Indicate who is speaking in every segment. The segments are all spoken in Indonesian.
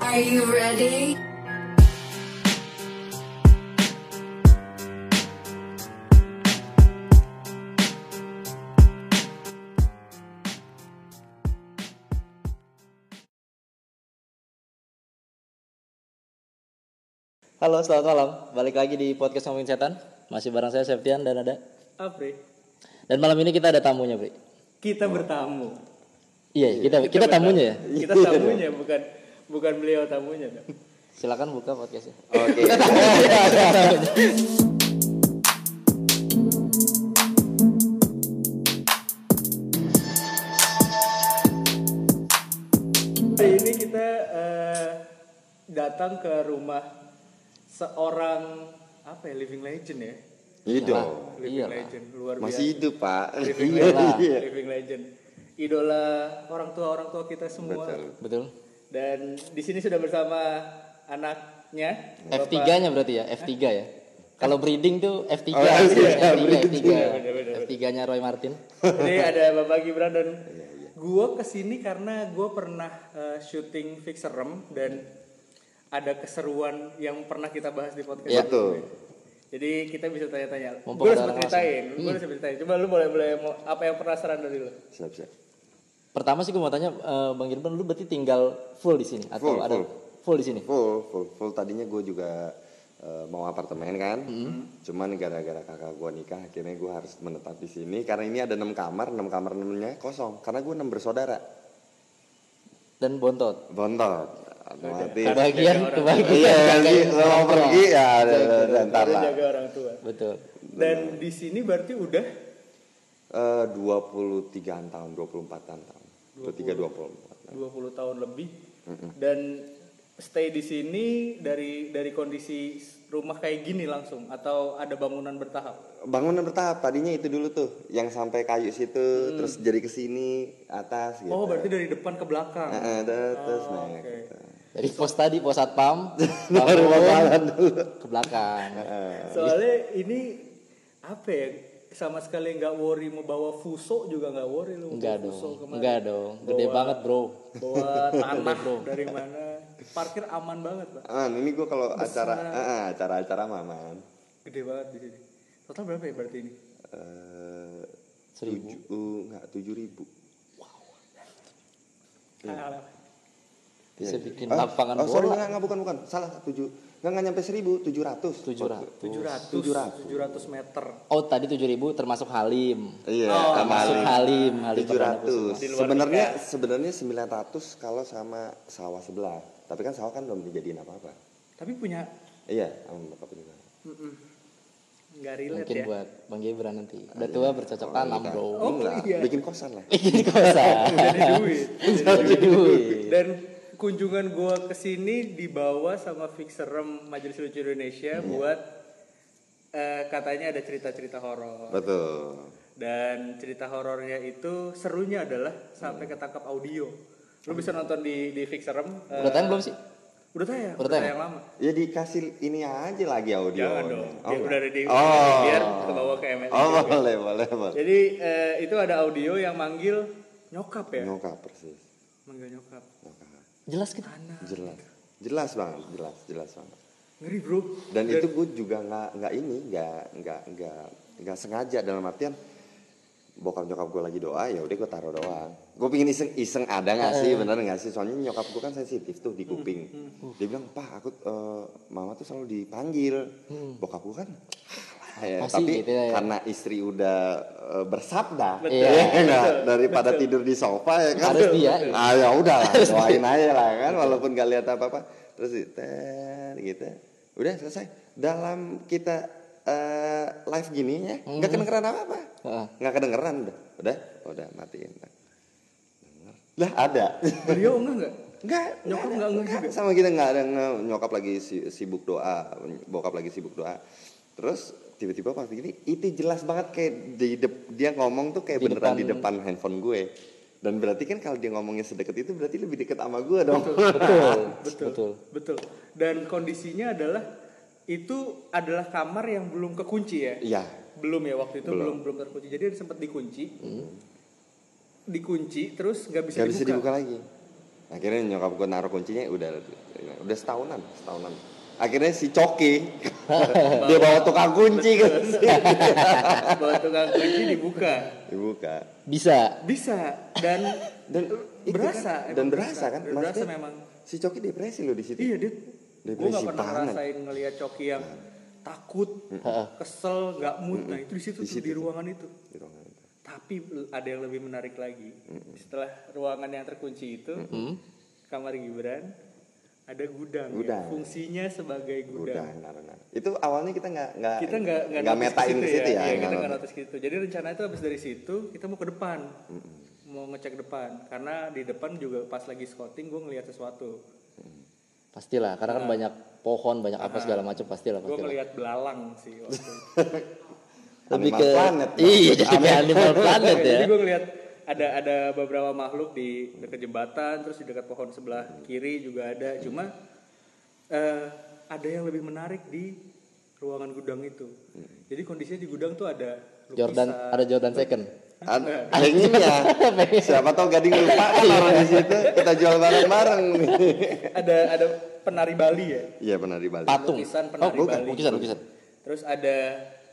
Speaker 1: Are you ready?
Speaker 2: Halo, selamat malam. Balik lagi di podcast ngomongin setan. Masih bareng saya Septian dan ada.
Speaker 3: Apri,
Speaker 2: Dan malam ini kita ada tamunya, Bri.
Speaker 4: Oh.
Speaker 3: kita bertamu.
Speaker 2: Iya, kita kita, tamunya ya.
Speaker 3: Kita
Speaker 4: Iya.
Speaker 3: tamunya bukan bukan beliau tamunya. Dok.
Speaker 2: Silakan buka podcastnya.
Speaker 4: Oke.
Speaker 3: Hari ini kita eh, datang ke rumah seorang apa ya living legend ya.
Speaker 4: Hidup.
Speaker 3: Living
Speaker 2: Iyalah.
Speaker 3: legend luar biasa.
Speaker 4: Iya Masih hidup, Pak.
Speaker 3: Living
Speaker 4: Iya.
Speaker 3: legend, living legend. Idola orang tua orang tua kita semua.
Speaker 4: Betul.
Speaker 2: Betul.
Speaker 3: Dan di sini sudah bersama anaknya. Bapak-
Speaker 2: F3-nya berarti ya, F3 ya. Kalau breeding tuh F3,
Speaker 4: Iya. Oh, iya,
Speaker 2: F3, F3.
Speaker 3: bener-bener.
Speaker 2: F3-nya Roy Martin.
Speaker 3: Ini ada Bapak Gibran dan gue kesini karena gue pernah eh, syuting fix serem dan ada keseruan yang pernah kita bahas di podcast.
Speaker 2: Iya.
Speaker 3: sebelumnya. Jadi kita bisa tanya-tanya.
Speaker 2: Mumpung
Speaker 3: Gue
Speaker 2: ada
Speaker 3: udah
Speaker 2: orang
Speaker 3: sempet ceritain, gue udah sempet ceritain. Coba lu boleh boleh mau- apa yang penasaran dari lu?
Speaker 4: Siap, siap.
Speaker 2: Pertama sih gue mau tanya eh, Bang Irfan lu berarti tinggal full di sini atau
Speaker 4: Full,
Speaker 2: ada
Speaker 4: full.
Speaker 2: full di sini?
Speaker 4: Full, full, full. Tadinya gue juga eh, mau apartemen kan. Cuman gara-gara kakak gue nikah, akhirnya gue harus menetap di sini. Karena ini ada enam kamar, enam kamar enamnya kosong. Karena gue enam bersaudara.
Speaker 2: Dan bontot.
Speaker 4: Bontot. Otomatis.
Speaker 2: Kebagian, kebagian.
Speaker 4: Iya, nanti lo mau pergi ya, ada- ada- ntar
Speaker 3: Lu
Speaker 4: lah.
Speaker 3: jaga orang tua.
Speaker 2: Betul.
Speaker 3: Dan di sini berarti udah
Speaker 4: Eh, 23 tahun, 24 tahun. 23, 24.
Speaker 3: 20 tahun lebih dan stay di sini dari dari kondisi rumah kayak gini langsung atau ada bangunan bertahap?
Speaker 4: Bangunan bertahap tadinya itu dulu tuh, yang sampai kayu situ, terus jadi ke sini, atas gitu.
Speaker 3: Oh, berarti dari depan ke belakang.
Speaker 4: Eh, eh, ter- terus
Speaker 3: Oh,
Speaker 4: naik.
Speaker 3: oke.
Speaker 4: gitu.
Speaker 2: Dari pos tadi, pos satpam,
Speaker 4: Baru Eh.
Speaker 2: bangun,
Speaker 4: bakalan dulu.
Speaker 2: ke belakang.
Speaker 3: Eh,
Speaker 4: gitu.
Speaker 3: Soalnya ini apa ya? Sama sekali nggak worry mau bawa fuso juga nggak worry lu.
Speaker 2: Enggak
Speaker 3: bawa fuso
Speaker 2: dong,
Speaker 3: kemana.
Speaker 2: enggak dong. Gede
Speaker 3: Bawa-
Speaker 2: banget bro.
Speaker 3: Bawa tanah dari mana? Parkir aman banget pak.
Speaker 4: Man, Ah, ini gue kalau acara eh, eh, acara-acara maman.
Speaker 3: Gede banget di sini. Total berapa ya berarti ini?
Speaker 4: Eh
Speaker 2: Seribu.
Speaker 4: tujuh enggak tujuh ribu. Iya.
Speaker 3: Alah, alah.
Speaker 2: Bisa bikin
Speaker 4: Ah,
Speaker 2: lapangan
Speaker 4: oh, sorry,
Speaker 2: bola.
Speaker 4: enggak, enggak, bukan bukan salah tujuh enggak, enggak nyampe seribu tujuh ratus.
Speaker 2: 700.
Speaker 3: 700
Speaker 4: 700.
Speaker 3: 700 meter.
Speaker 2: Oh tadi 7000 termasuk Halim.
Speaker 4: Iya,
Speaker 3: Oh,
Speaker 4: sama
Speaker 2: Termasuk
Speaker 4: Ali.
Speaker 2: Halim, Halim
Speaker 4: tujuh
Speaker 2: Perdana Kusuma.
Speaker 4: ratus.
Speaker 3: Di luar ya?
Speaker 4: Sebenarnya sebenarnya sembilan ratus kalau sama sawah sebelah. Tapi kan sawah kan belum dijadiin apa-apa.
Speaker 3: Tapi punya
Speaker 4: Iya, sama bapak punya.
Speaker 3: nggak relate
Speaker 2: Mungkin
Speaker 3: ya.
Speaker 2: buat Bang Gibran nanti. Udah tua bercocok tanam bro.
Speaker 3: Oh,
Speaker 4: Enggak,
Speaker 3: iya.
Speaker 4: bikin kosan lah.
Speaker 2: Bikin kosan.
Speaker 3: Jadi duit.
Speaker 2: Jadi duit.
Speaker 3: Dan kunjungan gua ke sini dibawa sama fixerem Majelis Lucu Indonesia
Speaker 2: Iya.
Speaker 3: buat eh, katanya ada cerita-cerita horor.
Speaker 4: Betul.
Speaker 3: Dan cerita horornya itu serunya adalah sampai ketangkap audio. Lu bisa nonton di di fixerem. eh,
Speaker 2: Udah tayang belum sih?
Speaker 3: Udah tayang,
Speaker 2: Udah
Speaker 3: udah
Speaker 2: tayang?
Speaker 3: tayang lama.
Speaker 4: Ya dikasih ini aja lagi audio.
Speaker 3: Jangan dong.
Speaker 4: Oh,
Speaker 3: Dia
Speaker 4: enggak?
Speaker 3: udah ada di
Speaker 4: Oh.
Speaker 3: biar kebawa ke MSI.
Speaker 4: Oh, boleh, boleh, boleh.
Speaker 3: Jadi eh, itu ada audio yang manggil nyokap ya.
Speaker 4: Nyokap persis.
Speaker 3: Manggil nyokap.
Speaker 4: Nyokap.
Speaker 2: Jelas gitu. kita.
Speaker 4: Jelas. Jelas banget, jelas, jelas banget.
Speaker 3: Ngeri, Bro.
Speaker 4: Dan itu gue juga nggak nggak ini nggak nggak nggak nggak sengaja dalam artian bokap nyokap gue lagi doa ya udah gue taruh doang. Gue pingin iseng iseng ada nggak
Speaker 2: Eh.
Speaker 4: sih bener nggak sih soalnya nyokap gue kan sensitif tuh di kuping. Dia bilang pak aku eh, mama tuh selalu dipanggil. Bokap gue kan "Ah, ya,
Speaker 2: Hmm. Pasti
Speaker 4: tapi
Speaker 2: gitu ya.
Speaker 4: karena istri udah eh, bersabda
Speaker 3: Betul,
Speaker 4: ya nggak?
Speaker 3: betul,
Speaker 4: daripada tidur di sofa ya kan
Speaker 2: Harus dia.
Speaker 4: ah ya udah lah, doain aja lah kan walaupun gak lihat apa apa terus di- ter gitu udah selesai dalam kita eh, live gini ya nggak kedengeran apa apa
Speaker 2: Heeh.
Speaker 4: nggak kedengeran udah udah udah matiin Denger. lah ada
Speaker 3: Beliau enggak enggak?
Speaker 4: nggak
Speaker 3: Nyokap
Speaker 4: ada,
Speaker 3: nggak ngeh juga?
Speaker 4: sama kita nggak ada nggak. nyokap lagi si- sibuk doa bokap lagi sibuk doa terus tiba-tiba pas gini itu jelas banget kayak di dep- dia ngomong tuh kayak
Speaker 2: Di
Speaker 4: beneran di
Speaker 2: depan-
Speaker 4: depan handphone gue dan berarti kan kalau dia ngomongnya sedekat itu berarti lebih dekat sama gue dong
Speaker 2: Betul.
Speaker 3: betul,
Speaker 2: Betul.
Speaker 3: betul dan kondisinya adalah itu adalah kamar yang belum kekunci ya
Speaker 4: Iya
Speaker 3: belum ya waktu itu belum belum, terkunci jadi ada sempat dikunci dikunci terus nggak bisa
Speaker 4: Hmm. nggak
Speaker 3: dibuka,
Speaker 4: bisa dibuka lagi akhirnya nyokap gue naruh kuncinya udah ya udah setahunan setahunan akhirnya si Coki dia bawa tukang kunci kan. ke sini.
Speaker 3: Bawa tukang kunci dibuka.
Speaker 4: dibuka
Speaker 2: Bisa.
Speaker 3: Bisa dan
Speaker 4: dan itu
Speaker 3: berasa.
Speaker 4: kan,
Speaker 3: emang
Speaker 4: dan berasa kan
Speaker 3: Dan berasa
Speaker 4: Maksudnya,
Speaker 3: memang.
Speaker 4: si Coki depresi loh di situ
Speaker 3: Iya, Dit. Gue
Speaker 4: Depresi
Speaker 3: gak pernah
Speaker 4: banget. Nah.
Speaker 3: ngerasain ngelihat Coki yang takut, kesel, gak mood. Nah, itu di situ
Speaker 4: Di
Speaker 3: tuh,
Speaker 4: situ
Speaker 3: di
Speaker 4: tuh.
Speaker 3: ruangan itu.
Speaker 4: Gitu kan.
Speaker 3: Tapi ada yang lebih menarik lagi. Setelah ruangan yang terkunci itu, kamar Gibran ada gudang, ya.
Speaker 4: Gudang.
Speaker 3: Fungsinya sebagai
Speaker 4: udah
Speaker 3: gudang.
Speaker 4: nah, nah. itu awalnya kita nggak nggak
Speaker 3: Kita nggak
Speaker 4: nggak
Speaker 3: notice
Speaker 4: metain ke situ
Speaker 3: Iya,
Speaker 4: ya,
Speaker 3: kita
Speaker 4: nggak
Speaker 3: nggak
Speaker 4: notice.
Speaker 3: notice gitu. Jadi rencana itu habis dari situ kita mau ke depan, mau ngecek depan. Karena di depan juga pas lagi scouting gue ngelihat sesuatu.
Speaker 2: Pastilah, karena
Speaker 3: Nah.
Speaker 2: kan banyak pohon, banyak apa segala macam pastilah,
Speaker 3: Gue
Speaker 2: pastilah.
Speaker 3: ngelihat belalang sih. Waktu itu.
Speaker 2: Lebih
Speaker 4: Animal
Speaker 2: ke
Speaker 4: Planet, Bang.
Speaker 2: Iya, jadi kayak Animal Planet ya.
Speaker 3: Jadi gue ngelihat ada ada beberapa makhluk di dekat jembatan, terus di dekat pohon sebelah kiri juga ada. Cuma eh, ada yang lebih menarik di ruangan gudang itu. Jadi kondisinya di gudang tuh ada
Speaker 2: Hmm. Jordan ada Jordan second.
Speaker 4: Ad- pengennya siapa tahu gading lupa kan orang di situ kita jual bareng-bareng
Speaker 3: ada ada penari Bali ya.
Speaker 4: iya benar di Bali
Speaker 2: Patung. oh,
Speaker 3: Lukisan penari
Speaker 2: bukan,
Speaker 3: Bali.
Speaker 2: lukisan, lukisan.
Speaker 3: Terus ada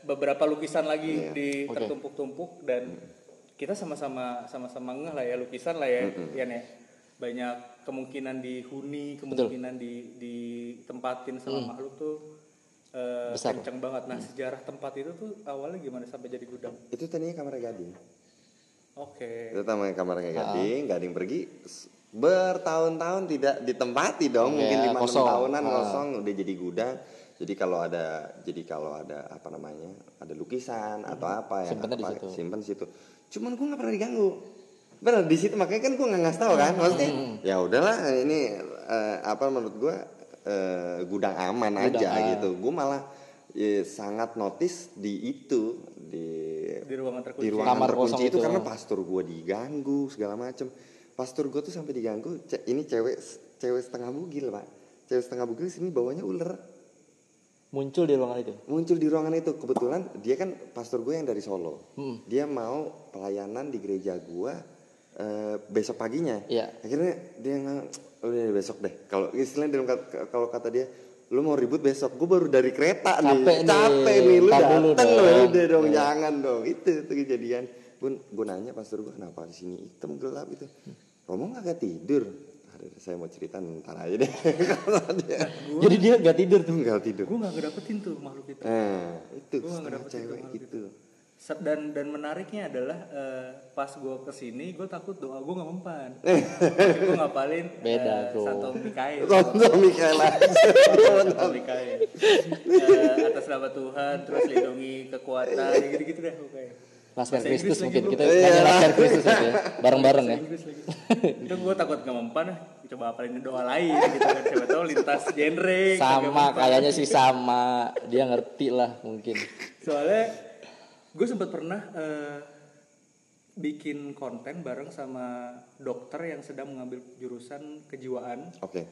Speaker 3: beberapa lukisan lagi
Speaker 4: Iya.
Speaker 3: di
Speaker 2: Oke.
Speaker 3: tertumpuk-tumpuk dan kita sama-sama sama-sama ngeh lah ya lukisan lah ya, Ian ya. Banyak kemungkinan dihuni, kemungkinan di ditempatin sama
Speaker 4: Mm.
Speaker 3: makhluk tuh eh,
Speaker 2: Besar.
Speaker 3: kenceng banget. Nah, sejarah tempat itu tuh awalnya gimana sampai jadi gudang?
Speaker 4: itu tadinya kamar gading
Speaker 3: Oke.
Speaker 4: itu
Speaker 2: Ah.
Speaker 4: taman kamarnya gading gading pergi s- bertahun-tahun tidak ditempati
Speaker 2: Iya,
Speaker 4: dong mungkin lima enam
Speaker 2: kosong.
Speaker 4: tahunan
Speaker 2: Ah.
Speaker 4: kosong udah jadi gudang jadi kalau ada jadi kalau ada apa namanya ada lukisan atau apa ya
Speaker 2: Simpennya Hmm. di
Speaker 4: apa,
Speaker 2: situ.
Speaker 4: simpen di situ cuman gue nggak pernah diganggu bener di situ makanya kan gue nggak ngasih tahu
Speaker 2: Hmm.
Speaker 4: kan maksudnya ya udahlah ini eh, apa menurut gue eh, gudang aman aja
Speaker 2: ah.
Speaker 4: gitu gue malah eh, sangat notice di itu di
Speaker 3: Di ruangan
Speaker 4: di
Speaker 3: terkunci.
Speaker 4: ruangan
Speaker 2: Kamar
Speaker 4: terkunci
Speaker 2: kosong
Speaker 4: itu,
Speaker 2: itu.
Speaker 4: karena pastor gue diganggu segala macem pastor gue tuh sampai diganggu ce- ini cewek cewek setengah bugil pak cewek setengah bugil sini bawahnya ular
Speaker 2: Muncul di ruangan itu.
Speaker 4: muncul di ruangan itu kebetulan dia kan pastor gue yang dari Solo
Speaker 2: Hmm.
Speaker 4: dia mau pelayanan di gereja gue eh, besok paginya
Speaker 2: Iya.
Speaker 4: akhirnya dia nggak udah deh, iya, besok deh kalau istilahnya dalam kat- kalau kata dia lu mau ribut besok gue baru dari
Speaker 2: Capek
Speaker 4: kereta nih
Speaker 2: nih,
Speaker 4: capek nih lu
Speaker 2: ntar dulu
Speaker 4: dateng lu
Speaker 2: dong." Iya.
Speaker 4: udah dong jangan dong itu itu kejadian pun gue nanya pastor gue kenapa di sini hitam gelap itu Romo nggak tidur Aduh, saya mau cerita ntar aja deh kata dia
Speaker 2: Jadi dia nggak tidur tuh.
Speaker 4: nggak tidur
Speaker 3: Gue nggak ngedapetin tuh makhluk itu.
Speaker 4: Nah, itu
Speaker 3: Gua nggak
Speaker 4: setengah
Speaker 3: dapet
Speaker 4: cewek
Speaker 3: itu,
Speaker 4: gitu.
Speaker 3: Set- dan dan menariknya adalah eh, pas gue kesini gue takut doa gue nggak mempan gue ngapalin eh,
Speaker 2: Eh. Beda, bro.
Speaker 3: santo mikael
Speaker 4: Tonton Michaela.
Speaker 3: santo mikael Eh, atas nama Tuhan terus lindungi kekuatan gitu gitu deh pokoknya
Speaker 2: Laskar
Speaker 3: Bahasa
Speaker 2: Kristus
Speaker 3: Inggris lagi,
Speaker 4: gitu.
Speaker 2: mungkin
Speaker 3: bro.
Speaker 2: kita nanya
Speaker 4: Iya.
Speaker 2: Laskar Kristus gitu ya. Bareng-bareng
Speaker 3: Bahasa
Speaker 2: ya.
Speaker 3: Inggris lagi. itu gue takut nggak mempan ah, coba apalin doa lain gitu kan siapa tahu lintas genre kagak
Speaker 2: Sama
Speaker 3: mempan.
Speaker 2: kayaknya sih sama. Dia ngerti lah mungkin.
Speaker 3: soalnya gue sempat pernah eh, bikin konten bareng sama dokter yang sedang mengambil jurusan kejiwaan
Speaker 4: Oke.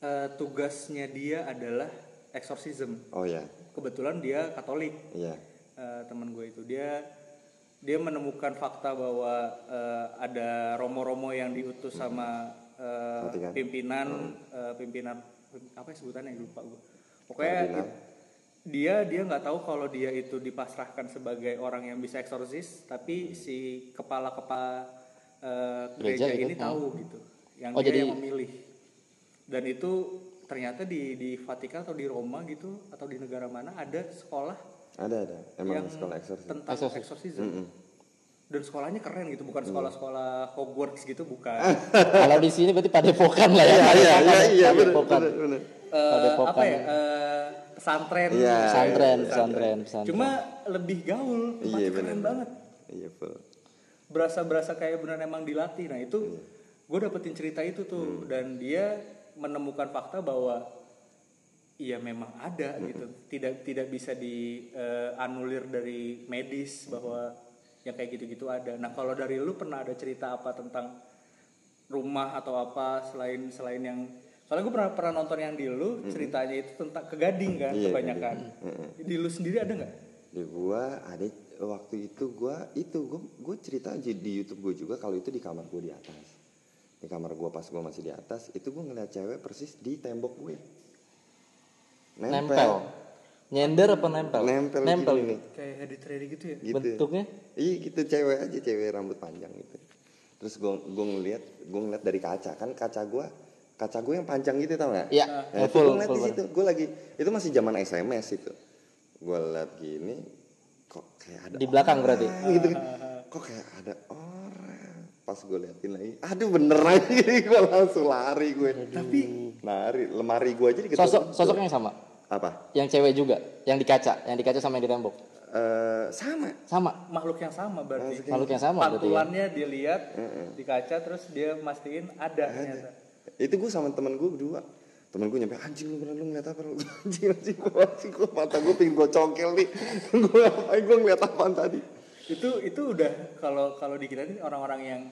Speaker 3: Eh, tugasnya dia adalah exorcism
Speaker 4: Oh ya.
Speaker 3: kebetulan dia katolik
Speaker 4: Iya.
Speaker 3: eh, teman gue itu dia dia menemukan fakta bahwa eh, ada romo-romo yang diutus
Speaker 2: Hmm.
Speaker 3: sama eh,
Speaker 2: kan?
Speaker 4: Vatikan.
Speaker 3: pimpinan eh, pimpinan apa ya sebutannya lupa gue pokoknya
Speaker 4: Kardinal.
Speaker 3: i- dia dia nggak tahu kalau dia itu dipasrahkan sebagai orang yang bisa eksorsis tapi si kepala kepala gereja,
Speaker 2: Hmm. Gereja gitu,
Speaker 3: ini
Speaker 2: hmm.
Speaker 3: tahu gitu yang
Speaker 2: Oh,
Speaker 3: dia
Speaker 2: jadi-
Speaker 3: yang memilih dan itu ternyata di di Vatikan atau di Roma gitu atau di negara mana ada sekolah
Speaker 4: Ada ada. Emang
Speaker 3: yang
Speaker 4: sekolah eksorsis.
Speaker 3: tentang
Speaker 2: Exorcism.
Speaker 3: exorcism dan sekolahnya keren gitu bukan sekolah-sekolah Hogwarts gitu bukan
Speaker 2: Kalau di sini berarti padepokan lah ya.
Speaker 4: Iya
Speaker 2: Padepokan,
Speaker 4: iya iya benar
Speaker 2: padepokan.
Speaker 4: benar, benar.
Speaker 3: Eh, apa
Speaker 2: Padepokan.
Speaker 3: ya eh, pesantren
Speaker 4: Iya.
Speaker 2: Pesantren, pesantren, pesantren.
Speaker 3: cuma lebih gaul
Speaker 4: Iya
Speaker 3: tempatnya
Speaker 4: benar.
Speaker 3: keren banget
Speaker 4: Iya full.
Speaker 3: berasa berasa kayak benar emang dilatih nah itu
Speaker 4: Hmm.
Speaker 3: gue dapetin cerita itu tuh dan dia menemukan fakta bahwa iya memang ada
Speaker 4: Hmm.
Speaker 3: gitu tidak tidak bisa dianulir dari medis
Speaker 4: Hmm.
Speaker 3: bahwa yang kayak gitu-gitu ada nah kalau dari lu pernah ada cerita apa tentang rumah atau apa selain selain yang soalnya gue pernah pernah nonton yang di lu ceritanya itu tentang kegading kan
Speaker 4: Hmm. Iya,
Speaker 3: kebanyakan di lu sendiri ada nggak
Speaker 4: Di gua ada waktu itu gua itu gua gua cerita aja di YouTube gua juga kalau itu di kamar gua di atas. di kamar gue pas gue masih di atas itu gue ngeliat cewek persis di tembok gue
Speaker 2: Nempel. Nyender apa nempel?
Speaker 4: nempel,
Speaker 2: nempel
Speaker 4: gini, nih.
Speaker 3: kayak hereditary gitu ya
Speaker 4: gitu.
Speaker 2: Bentuknya?
Speaker 4: Iya gitu cewek aja cewek rambut panjang gitu. Terus gue gue ngeliat gue ngeliat dari kaca kan kaca gue kaca gue yang panjang gitu tau gak?
Speaker 2: Iya,
Speaker 4: Nah, itu
Speaker 2: full,
Speaker 4: gue ngeliat
Speaker 2: full
Speaker 4: di situ gue lagi itu masih zaman SMS itu. Gue liat gini kok kayak ada
Speaker 2: Di belakang berarti?
Speaker 4: orang gitu kan. Kok kayak ada orang pas gue liatin lagi, aduh bener lagi gue langsung lari gue.
Speaker 3: tapi
Speaker 4: Lari lemari gue aja diketuk-
Speaker 2: Sosok sosoknya yang sama.
Speaker 4: apa?
Speaker 2: Yang cewek juga, yang di kaca, yang di kaca sama yang di tembok.
Speaker 4: Eh, sama
Speaker 2: Sama.
Speaker 3: makhluk yang sama berarti
Speaker 4: Iya. Nah,
Speaker 2: Makhluk yang sama berarti. ya.
Speaker 3: pantulannya dilihat di kaca terus dia mastiin ada ternyata
Speaker 4: itu gue sama temen gue berdua temen gue nyampe anjing lu bener lu ngeliat apa lu anjing anjing gue anjing gue mata gue pengen gue congkel nih gue ngapain gue ngeliat apaan tadi
Speaker 3: itu itu udah kalau kalau di kita ini orang-orang yang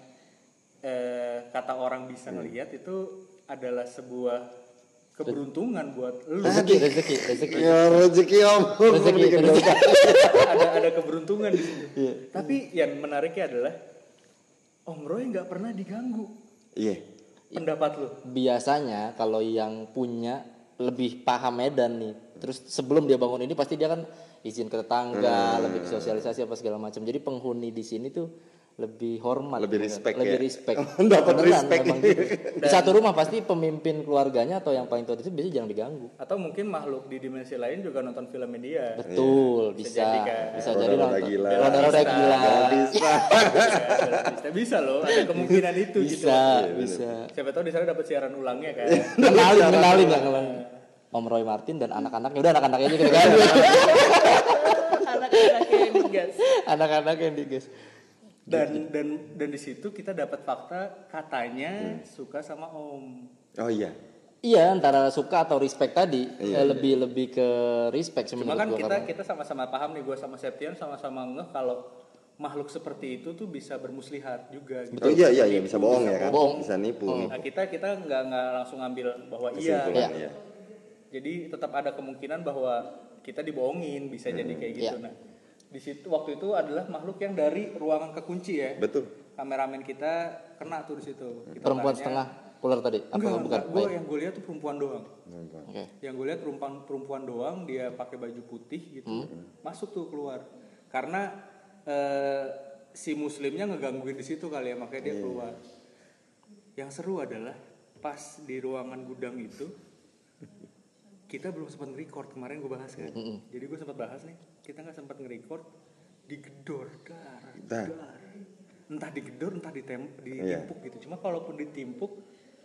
Speaker 3: eh, kata orang bisa
Speaker 2: Hmm.
Speaker 3: ngelihat itu adalah sebuah keberuntungan buat lu
Speaker 2: Rezeki, rezeki, rezeki.
Speaker 4: ya rezeki om
Speaker 2: Rezeki, rezeki.
Speaker 3: ada ada keberuntungan di sini
Speaker 2: Iya.
Speaker 3: tapi yang menariknya adalah Om Roy nggak pernah diganggu
Speaker 4: iya
Speaker 3: pendapat lu
Speaker 2: Biasanya kalau yang punya lebih paham medan nih. Terus sebelum dia bangun ini pasti dia kan izin ke
Speaker 4: Hmm.
Speaker 2: tetangga, lebih ke sosialisasi apa segala macam. Jadi penghuni di sini tuh lebih hormat,
Speaker 4: Lebih
Speaker 2: bener.
Speaker 4: respect
Speaker 2: lebih
Speaker 4: ya.
Speaker 2: respect.
Speaker 4: Dapat
Speaker 2: Beneran,
Speaker 4: respect. ya?
Speaker 2: memang gitu. Di satu rumah pasti pemimpin keluarganya atau yang paling tua itu biasanya jangan
Speaker 4: Iya.
Speaker 2: diganggu.
Speaker 3: atau mungkin makhluk di dimensi lain juga nonton filmnya dia
Speaker 2: Betul, bisa
Speaker 3: jadi kan.
Speaker 2: bisa jadi
Speaker 4: Roda-roda
Speaker 2: nonton.
Speaker 4: gila.
Speaker 2: Roda-roda gila.
Speaker 4: bisa Iya,
Speaker 3: Ya, bisa bisa loh ada kemungkinan itu gitu
Speaker 2: Bisa, Iya. bisa.
Speaker 3: siapa tahu di sana dapat siaran ulangnya kan
Speaker 2: Kenalin, kenalin lah kenalin. Om Roy Martin dan anak-anaknya udah anak-anaknya aja kita ganti.
Speaker 1: anak-anaknya yang digas
Speaker 2: Anak-anaknya yang digas.
Speaker 3: dan dan dan di situ kita dapat fakta katanya suka sama om
Speaker 4: oh iya
Speaker 2: Iya, antara suka atau respect tadi eh, lebih lebih ke respect
Speaker 3: cuma
Speaker 2: sebenarnya
Speaker 3: kan
Speaker 2: gua
Speaker 3: kita
Speaker 2: karena-
Speaker 3: kita sama-sama paham nih gue sama Septian sama-sama ngeh kalau makhluk seperti itu tuh bisa bermuslihat juga gitu
Speaker 4: oh iya iya iya bisa bohong ya kan
Speaker 2: bohong. Oh.
Speaker 4: bisa nipu nih
Speaker 3: nah kita kita nggak nggak langsung ngambil bahwa iya
Speaker 4: kesimpulan ya
Speaker 3: jadi tetap ada kemungkinan bahwa kita dibohongin bisa jadi kayak gitu
Speaker 2: Iya.
Speaker 3: nah di situ waktu itu adalah makhluk yang dari ruangan kekunci ya
Speaker 4: betul
Speaker 3: kameramen kita kena tuh di situ Kita
Speaker 2: perempuan
Speaker 3: gitu tanya,
Speaker 2: setengah ular tadi apa
Speaker 3: enggak,
Speaker 2: bukan?
Speaker 3: enggak, gue
Speaker 2: Baik.
Speaker 3: yang gue lihat tuh perempuan doang
Speaker 2: Oke.
Speaker 3: yang gue lihat perempuan perempuan doang dia pakai baju putih gitu masuk tuh keluar karena eh, si muslimnya ngegangguin di situ kali ya makanya dia keluar yang seru adalah pas di ruangan gudang itu kita belum sempat nge-record kemarin gue bahas kan jadi gue sempat bahas nih kita nggak sempat nge-record digedor darah
Speaker 4: Dah.
Speaker 3: darah entah digedor entah ditem-
Speaker 4: Iya.
Speaker 3: ditimpuk gitu cuma kalaupun ditimpuk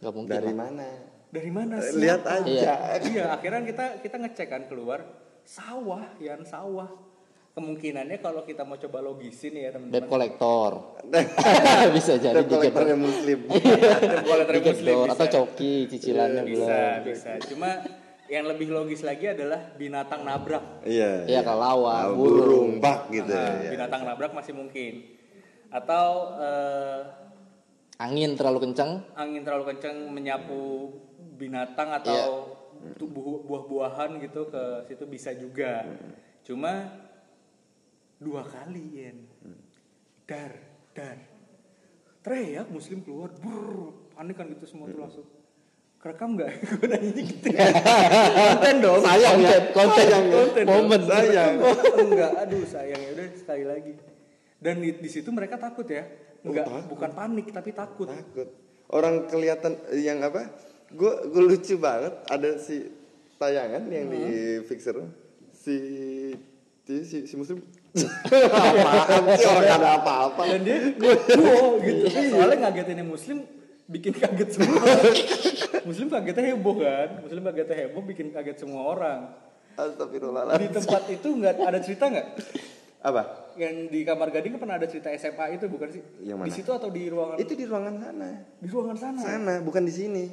Speaker 2: Enggak mungkin.
Speaker 4: dari
Speaker 2: lah.
Speaker 4: mana
Speaker 3: dari mana
Speaker 4: Eh,
Speaker 3: sih
Speaker 4: lihat aja
Speaker 3: iya akhirnya kita kita ngecek kan keluar sawah Yan sawah kemungkinannya kalau kita mau coba logisin ya
Speaker 2: Debt
Speaker 3: teman-teman
Speaker 2: kolektor. bisa jadi
Speaker 4: dan kolektor
Speaker 2: digedor.
Speaker 4: yang muslim
Speaker 2: Iya.
Speaker 3: Debt collector
Speaker 2: Digedor
Speaker 3: muslim bisa.
Speaker 2: atau coki cicilannya
Speaker 3: bisa
Speaker 2: belum.
Speaker 3: bisa cuma yang lebih logis lagi adalah binatang nabrak
Speaker 4: iya
Speaker 2: Iya, kelawar,
Speaker 4: Ah,
Speaker 2: burung. Ah.
Speaker 4: burung bak gitu
Speaker 3: Nah,
Speaker 4: ya
Speaker 3: binatang nabrak masih mungkin atau eh,
Speaker 2: Angin terlalu kencang.
Speaker 3: angin terlalu kencang menyapu binatang atau tubuh buah-buahan gitu ke situ bisa juga. Cuma dua kali Yen. Dar, dar. Teriak muslim keluar, brrr, panik kan gitu semua tuh langsung. Kerekam nggak? Gue nanya gitu. Konten dong.
Speaker 2: Sayang ya, konten yang
Speaker 3: Konten dong.
Speaker 2: momen.
Speaker 4: sayang
Speaker 3: Enggak, aduh sayang ya udah sekali lagi. Dan di, di situ mereka takut ya. Enggak, bukan panik tapi takut.
Speaker 4: takut orang kelihatan eh, yang apa gue lucu banget ada si tayangan yang di
Speaker 3: Hmm.
Speaker 4: fixer si si si, si muslim apaan
Speaker 3: Eh,
Speaker 4: sih orang ada apa-apa
Speaker 3: dan dia gue wow gitu
Speaker 4: Iya.
Speaker 3: soalnya ngagetinnya muslim bikin kaget semua muslim kagetnya heboh kan muslim kagetnya heboh bikin kaget semua orang di
Speaker 4: astagfirullahaladzim
Speaker 3: tempat itu nggak ada cerita nggak
Speaker 4: apa
Speaker 3: yang di kamar gading kan pernah ada cerita SMA itu bukan sih
Speaker 4: Yang mana?
Speaker 3: di situ atau di ruangan
Speaker 4: itu di ruangan sana
Speaker 3: di ruangan sana
Speaker 4: sana bukan di sini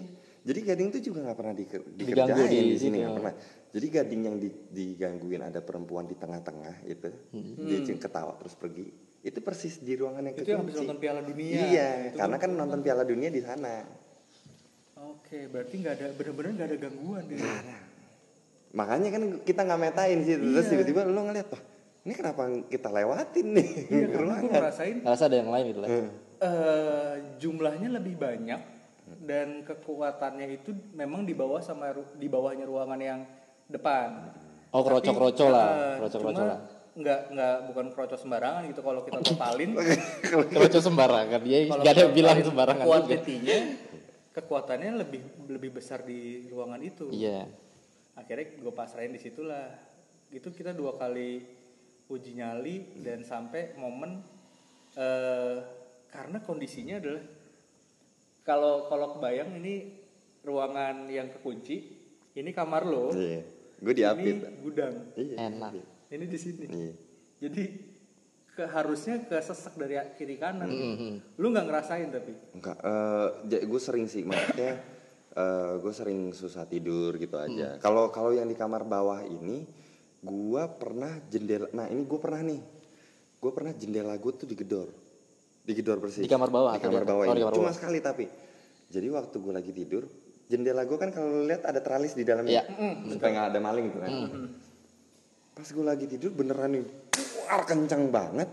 Speaker 4: jadi gading itu juga nggak pernah diker-
Speaker 2: Diganggu
Speaker 4: dikerjain
Speaker 2: di
Speaker 4: di sini
Speaker 2: situ.
Speaker 4: nggak pernah jadi gading yang di- digangguin ada perempuan di tengah-tengah itu dia cing- ketawa terus pergi itu persis di ruangan yang
Speaker 3: Hmm. itu yang habis
Speaker 4: kekunci.
Speaker 3: nonton Piala Dunia
Speaker 4: Iya,
Speaker 3: Itu
Speaker 4: karena
Speaker 3: tuh.
Speaker 4: kan nonton Piala Dunia di sana.
Speaker 3: oke berarti nggak ada bener-bener nggak ada gangguan ya? Iya di situ.
Speaker 4: Makanya kan kita nggak metain sih. Terus tiba-tiba lu ngeliat, "Wah, ini kenapa kita lewatin nih
Speaker 3: iya
Speaker 4: ke
Speaker 3: karena gue
Speaker 4: ruangan?"
Speaker 3: ngerasain
Speaker 2: Rasa ada yang lain gitu lah.
Speaker 4: Eh,
Speaker 3: eh, jumlahnya lebih banyak dan kekuatannya itu memang di bawah sama ru- di bawahnya ruangan yang depan.
Speaker 2: Oh,
Speaker 3: Tapi,
Speaker 2: kroco-kroco lah,
Speaker 3: eh,
Speaker 2: kroco-kroco
Speaker 3: cuma
Speaker 2: lah.
Speaker 3: nggak nggak bukan kroco sembarangan gitu kalau kita totalin
Speaker 2: Kroco sembarangan. Dia
Speaker 3: kalau
Speaker 2: gak ada
Speaker 3: kita
Speaker 2: bilang
Speaker 3: totalin
Speaker 2: sembarangan juga.
Speaker 3: quantity-nya, kekuatannya lebih lebih besar di ruangan itu
Speaker 2: Iya.
Speaker 3: akhirnya gue pasrahin di situlah itu kita dua kali uji nyali dan sampai momen eh karena kondisinya adalah kalau kalau kebayang ini ruangan yang kekunci ini kamar lo
Speaker 4: Iya. Gue
Speaker 3: ini
Speaker 4: diapit.
Speaker 3: gudang
Speaker 4: Iya.
Speaker 2: Enak.
Speaker 3: ini di sini
Speaker 4: Iya.
Speaker 3: jadi ke, harusnya kesesek dari kiri kanan
Speaker 2: Mhm.
Speaker 3: lu nggak ngerasain tapi
Speaker 4: Enggak, gue sering sih maksudnya gue sering susah tidur gitu aja.
Speaker 2: Hmm.
Speaker 4: Kalau kalau yang di kamar bawah ini, gue pernah jendela. Nah ini gue pernah nih, gue pernah jendela gue tuh digedor, digedor persis.
Speaker 2: Di kamar bawah
Speaker 4: Di
Speaker 2: atau
Speaker 4: kamar
Speaker 2: di-
Speaker 4: bawah
Speaker 2: oh, di
Speaker 4: ini.
Speaker 2: kamar
Speaker 4: Cuma
Speaker 2: bawah.
Speaker 4: sekali tapi. Jadi waktu gue lagi tidur, jendela gue kan kalau lu lihat ada teralis di dalamnya,
Speaker 2: Iya.
Speaker 4: supaya nggak ada maling tuh kan. Pas gue lagi tidur beneran nih, luar kencang banget.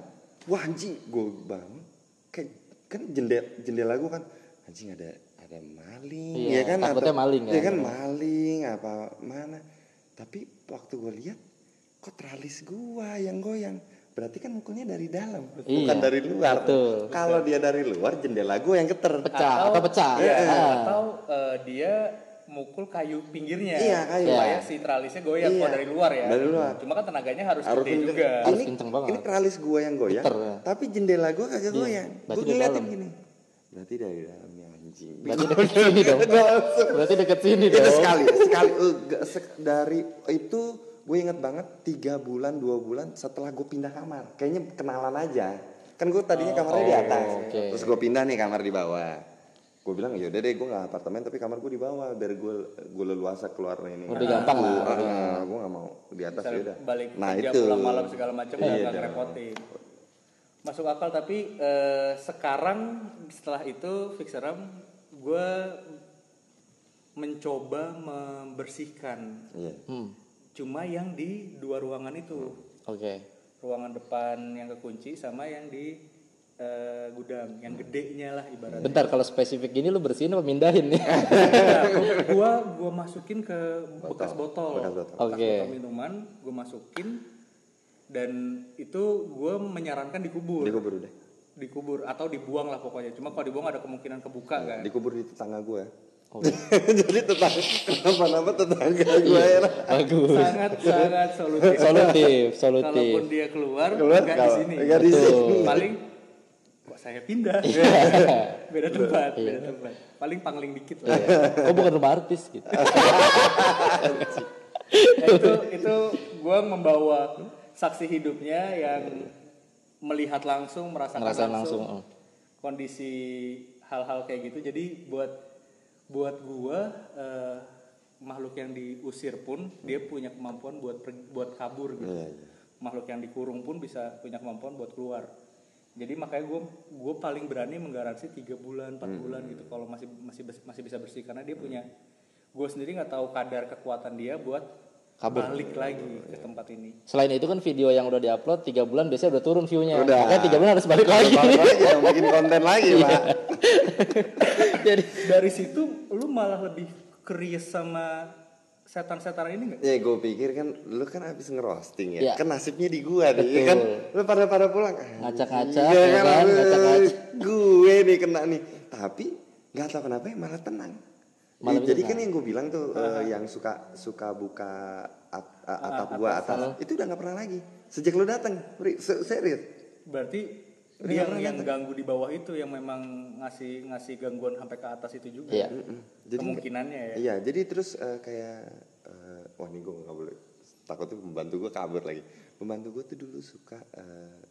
Speaker 4: Wah anjing, gue bangun. Kayak kan jendela jendela gue kan anjing ada ada maling,
Speaker 2: Iya,
Speaker 4: ya kan?
Speaker 2: takutnya maling
Speaker 4: ya
Speaker 2: kan.
Speaker 4: kan maling apa mana? Tapi waktu gue lihat kok teralis gua yang goyang. Berarti kan mukulnya dari dalam, bukan
Speaker 2: Iya,
Speaker 4: dari luar.
Speaker 2: betul.
Speaker 4: Kalau dia dari luar, jendela gue yang keter.
Speaker 2: Pecah atau, pecah.
Speaker 3: Iya,
Speaker 2: Ah.
Speaker 3: atau eh, dia mukul kayu pinggirnya
Speaker 4: Iya, kayu.
Speaker 3: supaya
Speaker 2: Iya.
Speaker 3: si tralisnya goyang
Speaker 4: Iya.
Speaker 3: kalau dari luar ya
Speaker 4: Dari luar.
Speaker 3: cuma kan tenaganya harus
Speaker 4: Harus Iya,
Speaker 3: gede
Speaker 4: kenceng.
Speaker 3: juga
Speaker 2: Harus
Speaker 4: Ini,
Speaker 2: kenceng banget.
Speaker 4: ini teralis gua yang goyang,
Speaker 2: Puter, ya. Iya,
Speaker 4: tapi jendela gua kagak goyang.
Speaker 2: berarti
Speaker 4: Gue
Speaker 2: dari
Speaker 4: ngeliatin
Speaker 2: dalam.
Speaker 4: gini. Berarti dari dalamnya anjing.
Speaker 2: Berarti deket sini dong. Berarti deket sini dong.
Speaker 4: itu sekali, sekali eh, gak sek- dari itu gue inget banget tiga bulan dua bulan setelah gue pindah kamar kayaknya kenalan aja kan gue tadinya kamarnya di
Speaker 2: oh,
Speaker 4: atas
Speaker 2: oke.
Speaker 4: terus gue pindah nih kamar di bawah gue bilang yaudah deh gue nggak apartemen tapi kamar gue di bawah biar gue gue leluasa keluar ini
Speaker 2: Lebih gampang lah,
Speaker 4: gue
Speaker 2: lebih
Speaker 4: nggak mau di atas
Speaker 3: Misalnya
Speaker 4: yaudah
Speaker 3: balik
Speaker 4: nah
Speaker 3: kerja
Speaker 4: itu
Speaker 3: pulang malam segala macam nggak
Speaker 4: Iya
Speaker 3: nggak
Speaker 4: dong.
Speaker 3: ngerepotin masuk akal tapi eh, sekarang setelah itu fixeram gue mencoba membersihkan
Speaker 4: Iya.
Speaker 2: Hmm.
Speaker 3: cuma yang di dua ruangan itu
Speaker 2: Oke.
Speaker 3: ruangan depan yang kekunci sama yang di eh, gudang yang gedenya lah ibaratnya
Speaker 2: Bentar kalau spesifik gini lu bersihin apa mindahin nih?
Speaker 3: Nah, gua gua masukin ke bekas botol
Speaker 4: Bekas botol.
Speaker 2: Oke.
Speaker 3: botol minuman gua masukin dan itu gua menyarankan dikubur
Speaker 4: dikubur udah
Speaker 3: dikubur atau dibuang lah pokoknya cuma kalau dibuang ada kemungkinan kebuka kan
Speaker 4: dikubur di tetangga gue
Speaker 2: Oke.
Speaker 4: jadi tetangga kenapa-napa tetangga gue
Speaker 2: Iya.
Speaker 4: era
Speaker 2: Bagus.
Speaker 3: sangat sangat solutif
Speaker 2: Solutif, solutif.
Speaker 3: kalaupun dia keluar
Speaker 4: keluar
Speaker 3: nggak di
Speaker 4: kalau-
Speaker 3: sini
Speaker 4: nggak di
Speaker 2: Betul.
Speaker 4: sini Iya.
Speaker 3: paling kok saya pindah beda tempat
Speaker 2: Iya.
Speaker 3: beda tempat paling pangling dikit
Speaker 4: Iya.
Speaker 3: lah
Speaker 2: Kok Oh, bukan rumah artis gitu.
Speaker 3: Ya, itu itu gue membawa saksi hidupnya yang melihat langsung merasakan
Speaker 2: Ngerasain
Speaker 3: langsung,
Speaker 2: langsung, oh.
Speaker 3: kondisi hal-hal kayak gitu jadi buat buat gue eh, makhluk yang diusir pun dia punya kemampuan buat per- buat kabur gitu
Speaker 4: Iya, iya.
Speaker 3: makhluk yang dikurung pun bisa punya kemampuan buat keluar jadi makanya gue gue paling berani menggaransi tiga bulan 4
Speaker 4: Hmm.
Speaker 3: bulan gitu kalau masih masih bes- masih bisa bersih karena dia punya gue sendiri nggak tahu kadar kekuatan dia buat
Speaker 2: Kabur.
Speaker 3: balik lagi
Speaker 4: Iya.
Speaker 3: ke tempat ini
Speaker 2: Selain itu kan video yang udah diupload tiga bulan biasanya udah turun view-nya.
Speaker 4: Udah.
Speaker 2: Makanya tiga bulan harus balik lagi.
Speaker 4: Balik lagi yang bikin konten lagi
Speaker 2: Iya.
Speaker 4: pak
Speaker 2: Jadi
Speaker 3: dari situ lu malah lebih curious sama setan-setan ini nggak
Speaker 4: ya gue pikir kan lu kan abis ngerosting
Speaker 2: Iya.
Speaker 4: ya kan nasibnya di gua nih ya
Speaker 2: Betul.
Speaker 4: kan lu pada pada pulang ah,
Speaker 2: Ngacak-ngacak,
Speaker 4: iya
Speaker 2: ya kan?
Speaker 4: aduh,
Speaker 2: Ngacak-ngacak.
Speaker 4: gue nih kena nih tapi nggak tahu kenapa ya malah tenang
Speaker 2: Malah
Speaker 4: Ya, jadi
Speaker 2: tenang.
Speaker 4: kan yang gue bilang tuh eh, yang suka suka buka at- a-
Speaker 2: Ah,
Speaker 4: atap gua atas itu udah nggak pernah lagi sejak lu datang Ri, se- serius
Speaker 3: berarti dia yang, yang ganggu di bawah itu yang memang ngasih ngasih gangguan sampai ke atas itu juga
Speaker 2: Iya.
Speaker 4: Mm-mm.
Speaker 3: kemungkinannya ya
Speaker 4: Iya, jadi terus eh, kayak eh, wah ini gue nggak boleh takutnya pembantu gue kabur lagi. Pembantu gue tuh dulu suka eh,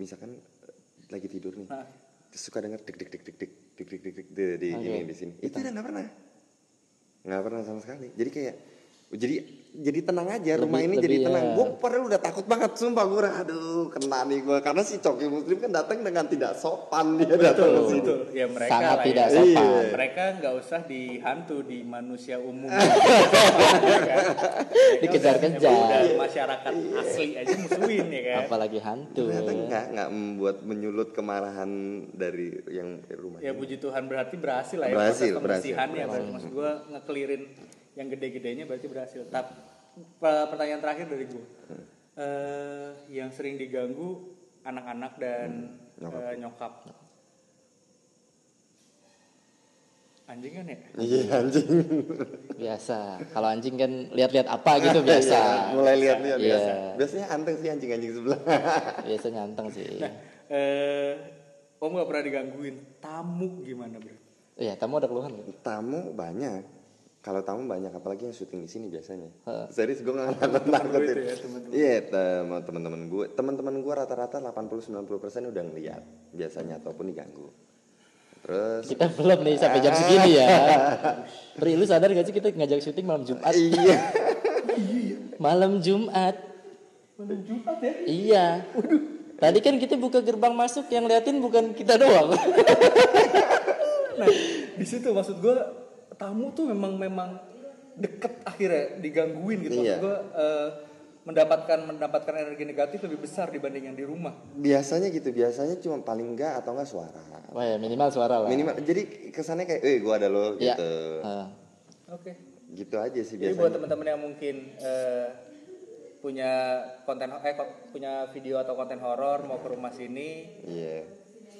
Speaker 4: misalkan eh, lagi tidur nih,
Speaker 3: Hah.
Speaker 4: suka denger dik dik dik dik dik dik dik dik dik di di-
Speaker 2: Oke.
Speaker 4: ini di sini. Itu udah nggak pernah, nggak pernah sama sekali. Jadi kayak jadi jadi tenang aja rumah ini
Speaker 2: Lebih-
Speaker 4: jadi
Speaker 2: lebih,
Speaker 4: tenang
Speaker 2: ya.
Speaker 4: gue padahal udah takut banget sumpah gue aduh kena nih gue karena si coki muslim kan datang dengan tidak sopan dia datang ke
Speaker 3: Betul,
Speaker 4: situ
Speaker 3: betul. Ya mereka
Speaker 2: Sangat
Speaker 3: lah
Speaker 2: tidak
Speaker 3: ya.
Speaker 2: sopan.
Speaker 3: Iya. Mereka nggak usah dihantu di manusia umum. Iya
Speaker 2: Dikejar-kejar.
Speaker 3: Dan masyarakat asli aja musuhin ya kan.
Speaker 2: apalagi hantu
Speaker 4: ternyata enggak enggak membuat menyulut kemarahan dari yang rumah
Speaker 3: Ya puji Tuhan berarti berhasil lah ya
Speaker 4: Berhasil,
Speaker 3: proses
Speaker 4: berhasil,
Speaker 3: pembersihannya. Berarti maksud gue ngekelirin yang gede-gedenya berarti berhasil. Tapi pertanyaan terakhir dari gue, Eh, yang sering diganggu anak-anak dan
Speaker 4: Hmm, nyokap.
Speaker 3: eh, nyokap. Anjing kan ya?
Speaker 4: iya anjing
Speaker 2: biasa kalau anjing kan lihat-lihat apa gitu biasa
Speaker 4: Iya, mulai lihat-lihat
Speaker 2: Iya.
Speaker 4: biasa biasanya anteng sih anjing-anjing sebelah
Speaker 2: biasa nyanteng sih
Speaker 3: Eh, om nggak pernah digangguin tamu gimana bro?
Speaker 2: iya tamu ada keluhan nggak?
Speaker 4: tamu banyak kalau tamu banyak apalagi yang syuting di sini biasanya
Speaker 2: Heeh.
Speaker 4: serius gue nggak nakut nakutin
Speaker 3: itu ya, teman-teman.
Speaker 4: iya tem- teman-teman gue teman-teman gue rata-rata 80-90 persen udah ngeliat biasanya ataupun diganggu terus
Speaker 2: kita belum nih sampai jam segini ya Pri lu sadar gak sih kita ngajak syuting malam Jumat
Speaker 4: iya
Speaker 2: malam Jumat
Speaker 3: Malam Jumat ya?
Speaker 2: iya tadi kan kita buka gerbang masuk yang liatin bukan kita doang
Speaker 3: Nah, di situ maksud gue tamu tuh memang memang deket akhirnya digangguin gitu. Maksud
Speaker 4: Iya.
Speaker 3: gue eh, mendapatkan mendapatkan energi negatif lebih besar dibanding yang di rumah.
Speaker 4: biasanya gitu biasanya cuma paling enggak atau enggak suara
Speaker 2: Wah ya minimal suara lah
Speaker 4: minimal jadi kesannya kayak eh gue ada lo
Speaker 2: Iya.
Speaker 4: gitu
Speaker 2: Heeh.
Speaker 3: Oke.
Speaker 4: gitu aja sih
Speaker 3: Jadi buat
Speaker 4: biasanya
Speaker 3: teman-teman yang mungkin eh, punya konten eh ko- punya video atau konten horor mau ke rumah sini
Speaker 4: iya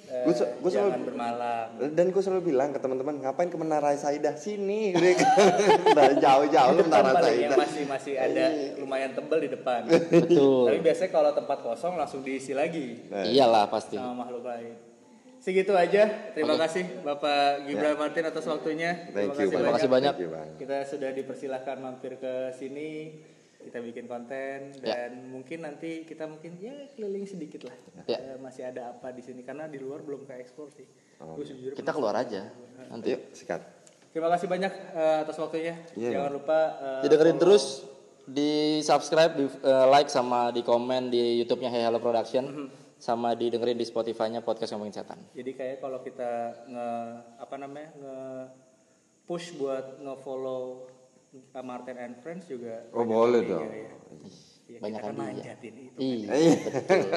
Speaker 3: eh,
Speaker 4: Gua se- gua selalu-
Speaker 3: jangan bermalam.
Speaker 4: dan gue selalu bilang ke teman-teman ngapain ke Menara Saidah sini dari jauh-jauh lu Menara
Speaker 3: Paling Kan yang
Speaker 4: Saidah
Speaker 3: masih masih ada lumayan tebel di depan.
Speaker 2: betul
Speaker 3: Tapi biasanya kalau tempat kosong langsung diisi lagi.
Speaker 2: iyalah pasti
Speaker 3: sama makhluk lain. Segitu aja. Terima kasih
Speaker 2: Ya.
Speaker 3: Bapak Gibran Martin atas waktunya.
Speaker 4: Thank you,
Speaker 2: Terima kasih banyak.
Speaker 4: Thank you, Bang.
Speaker 3: Kita sudah dipersilahkan mampir ke sini. Kita bikin konten dan mungkin nanti kita mungkin ya keliling sedikit lah.
Speaker 2: Ya.
Speaker 3: Eh, masih ada apa di sini karena di luar belum ke ekspor sih.
Speaker 2: Oh,
Speaker 3: Gua jujur
Speaker 2: kita keluar aja nanti
Speaker 4: Yuk, sikat.
Speaker 3: Terima kasih banyak eh, atas waktunya.
Speaker 4: Iya.
Speaker 3: Jangan lupa eh,
Speaker 2: didengerin terus di subscribe di eh, like sama di komen di YouTube-nya Hey Hello
Speaker 4: Mhm.
Speaker 2: Production sama didengerin di Spotify-nya podcast ngomongin setan
Speaker 3: Jadi kayak kalau kita nge apa namanya nge push buat nge follow Martin and Friends juga.
Speaker 4: Oh,
Speaker 3: banyak
Speaker 4: boleh
Speaker 3: yang
Speaker 4: dong.
Speaker 3: iya, iya. Ya,
Speaker 2: Banyak
Speaker 3: kita kan
Speaker 2: hadiah.
Speaker 3: manjatin itu.
Speaker 2: iya
Speaker 3: Jadi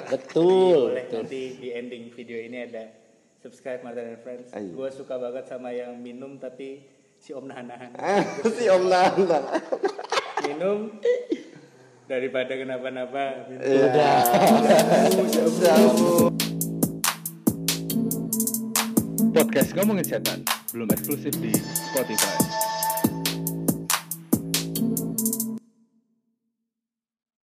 Speaker 2: betul
Speaker 3: boleh
Speaker 2: betul
Speaker 3: nanti di ending video ini ada subscribe Martin and Friends.
Speaker 4: Ayo.
Speaker 3: Gue suka banget sama yang minum tapi si Om nahan-nahan.
Speaker 4: si Om Nanda.
Speaker 3: minum daripada kenapa-napa.
Speaker 4: Eh.
Speaker 3: minum.
Speaker 4: Udah. Jauh.
Speaker 1: Podcast Ngomongin Setan belum eksklusif di Spotify.